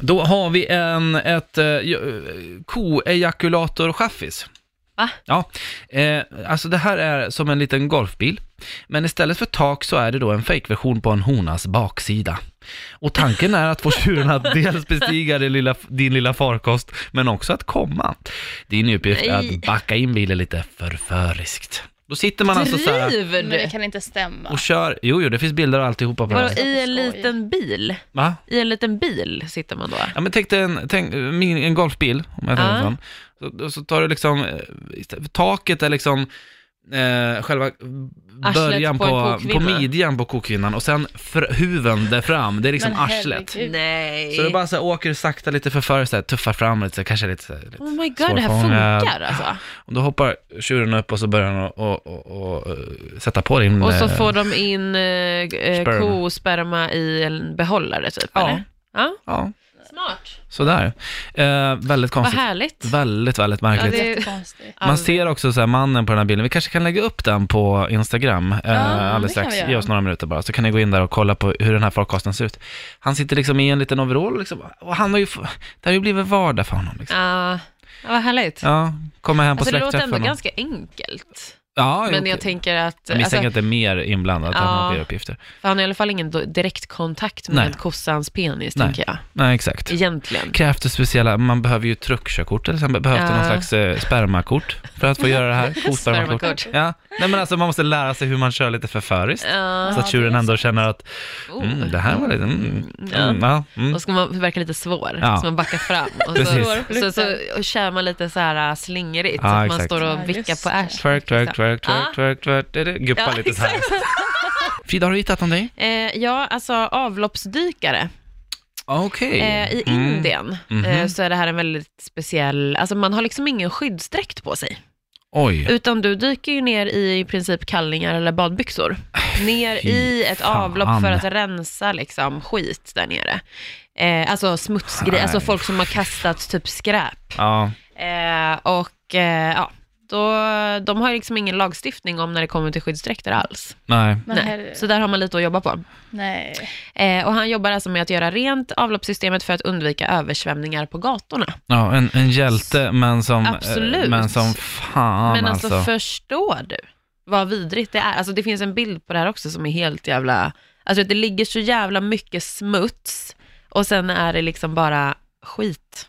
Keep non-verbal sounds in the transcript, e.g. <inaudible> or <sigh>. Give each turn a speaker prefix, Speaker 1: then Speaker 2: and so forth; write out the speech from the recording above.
Speaker 1: Då har vi en, ett eh, koejakulator-chaffis.
Speaker 2: Va?
Speaker 1: Ja, eh, alltså det här är som en liten golfbil, men istället för tak så är det då en fake-version på en honas baksida. Och tanken är att få tjuren att dels bestiga din lilla, din lilla farkost, men också att komma. Din uppgift är
Speaker 2: Nej.
Speaker 1: att backa in bilen lite förföriskt. Då sitter man alltså så här
Speaker 2: Driver
Speaker 3: Men det
Speaker 2: du?
Speaker 3: kan inte stämma.
Speaker 1: och kör, jo, jo det finns bilder och alltihopa på det
Speaker 2: Vadå,
Speaker 1: här.
Speaker 2: i
Speaker 3: Skoj.
Speaker 2: en liten bil?
Speaker 1: Va?
Speaker 2: I en liten bil sitter man då?
Speaker 1: Ja men tänk dig en, tänk, min, en golfbil, om jag tänker
Speaker 2: Ja.
Speaker 1: sån. Så, då- så tar du liksom, eh, istä- taket är liksom eh, själva början
Speaker 2: på en
Speaker 1: på, på,
Speaker 2: kokvinna.
Speaker 1: midjan på kokvinnan och sen fr, huven där fram, det är liksom
Speaker 3: Men
Speaker 1: arslet.
Speaker 3: herregud.
Speaker 2: Nej.
Speaker 1: Så du bara så här, åker sakta lite för före, så här, tuffar fram lite, så här, kanske lite, så här, lite.
Speaker 2: Oh my god, det här
Speaker 1: Svårfångad.
Speaker 2: funkar alltså.
Speaker 1: Och då hoppar tjuren upp och så börjar han och, och, och, och eh, sätta på din...
Speaker 2: Och så
Speaker 1: eh,
Speaker 2: får de in eh, eh,
Speaker 1: sperma.
Speaker 2: kosperma i en behållare typ,
Speaker 1: Ja.
Speaker 2: eller? Ja.
Speaker 1: Ja,
Speaker 2: Smart.
Speaker 1: sådär. Eh, väldigt
Speaker 2: Vad
Speaker 1: konstigt.
Speaker 2: härligt.
Speaker 1: Väldigt, väldigt märkligt.
Speaker 2: det-
Speaker 3: Jättekonstigt.
Speaker 1: Man ser också så här mannen på den här bilden. Vi kanske kan lägga upp den på Instagram eh, alldeles
Speaker 3: det kan
Speaker 1: strax.
Speaker 3: vi göra.
Speaker 1: Ge oss några minuter bara, så kan ni gå in där och kolla på hur den här farkosten ser ut. Han sitter liksom i en liten overall liksom, och han har ju, f- det har ju blivit vardag för honom. Liksom.
Speaker 2: Ja, vad härligt.
Speaker 1: Ja, kommer hem på
Speaker 2: Alltså det låter
Speaker 1: släktträffen.
Speaker 2: ändå
Speaker 1: och-
Speaker 2: ganska enkelt.
Speaker 1: Ja,
Speaker 2: Men jag
Speaker 1: tänker
Speaker 2: tänker att,
Speaker 1: jag misstänker
Speaker 2: alltså,
Speaker 1: att det är mer inblandat än
Speaker 2: Ja.
Speaker 1: han har fler uppgifter.
Speaker 2: för han har i alla fall ingen do- direktkontakt med
Speaker 1: Nej.
Speaker 2: kossans penis,
Speaker 1: Nej.
Speaker 2: tänker jag.
Speaker 1: Nej, exakt.
Speaker 2: Egentligen.
Speaker 1: Krävs det speciella, man behöver ju truckkörkort till exempel, behövs det
Speaker 2: Ja.
Speaker 1: någon slags eh, spermakort för att få göra det
Speaker 2: <laughs>
Speaker 1: här? Kospermakort.
Speaker 2: Spermakort.
Speaker 1: Ja, nej men alltså man måste lära sig hur man kör lite förföriskt.
Speaker 2: Ja.
Speaker 1: Så att tjuren ändå känner att
Speaker 2: Oh.
Speaker 1: Mm, det här var lite... Mm, mm, ja. mm.
Speaker 2: Och ska man verka lite svår,
Speaker 1: Ja.
Speaker 2: så man backar fram.
Speaker 1: <laughs>
Speaker 2: Och
Speaker 1: Precis.
Speaker 2: så, så, så och kör man lite så här äh, slingrigt,
Speaker 1: Ja,
Speaker 2: så att man
Speaker 1: exakt.
Speaker 2: står
Speaker 3: Ja,
Speaker 2: och vickar
Speaker 3: just
Speaker 2: på
Speaker 3: det.
Speaker 2: arslet.
Speaker 1: Twerk, twerk,
Speaker 2: liksom.
Speaker 1: twerk,
Speaker 2: Ja.
Speaker 1: twerk, twerk, twerk, det- det- guppa
Speaker 2: Ja,
Speaker 1: lite så här. <laughs> Frida, har du hittat någonting?
Speaker 2: Eh, ja, alltså avloppsdykare.
Speaker 1: Okej.
Speaker 2: Eh, I
Speaker 1: Mm.
Speaker 2: Indien eh,
Speaker 1: Mhm.
Speaker 2: så är det här en väldigt speciell, alltså man har liksom ingen skyddsdräkt på sig.
Speaker 1: Oj.
Speaker 2: Utan du dyker ju ner i i princip kallingar eller badbyxor. Ner
Speaker 1: Äh, Fy
Speaker 2: i ett
Speaker 1: fan.
Speaker 2: avlopp för att rensa liksom skit där nere. Eh, alltså smutsgrejer, alltså
Speaker 1: Nej.
Speaker 2: folk som har kastat typ skräp.
Speaker 1: Ja,
Speaker 2: Eh, och eh, ja, då, de har ju liksom ingen lagstiftning om när det kommer till skyddsdräkter alls.
Speaker 1: nej.
Speaker 3: Men herre-
Speaker 2: Nej. Så där har man lite att jobba på.
Speaker 3: Nej.
Speaker 2: Eh, och han jobbar alltså med att göra rent avloppssystemet för att undvika översvämningar på gatorna.
Speaker 1: Ja, en, en hjälte, men som...
Speaker 2: Absolut.
Speaker 1: eh, Men som fan
Speaker 2: Men
Speaker 1: alltså.
Speaker 2: alltså, förstår du vad vidrigt det är? Alltså det finns en bild på det här också som är helt jävla, alltså det ligger så jävla mycket smuts och sen är det liksom bara skit.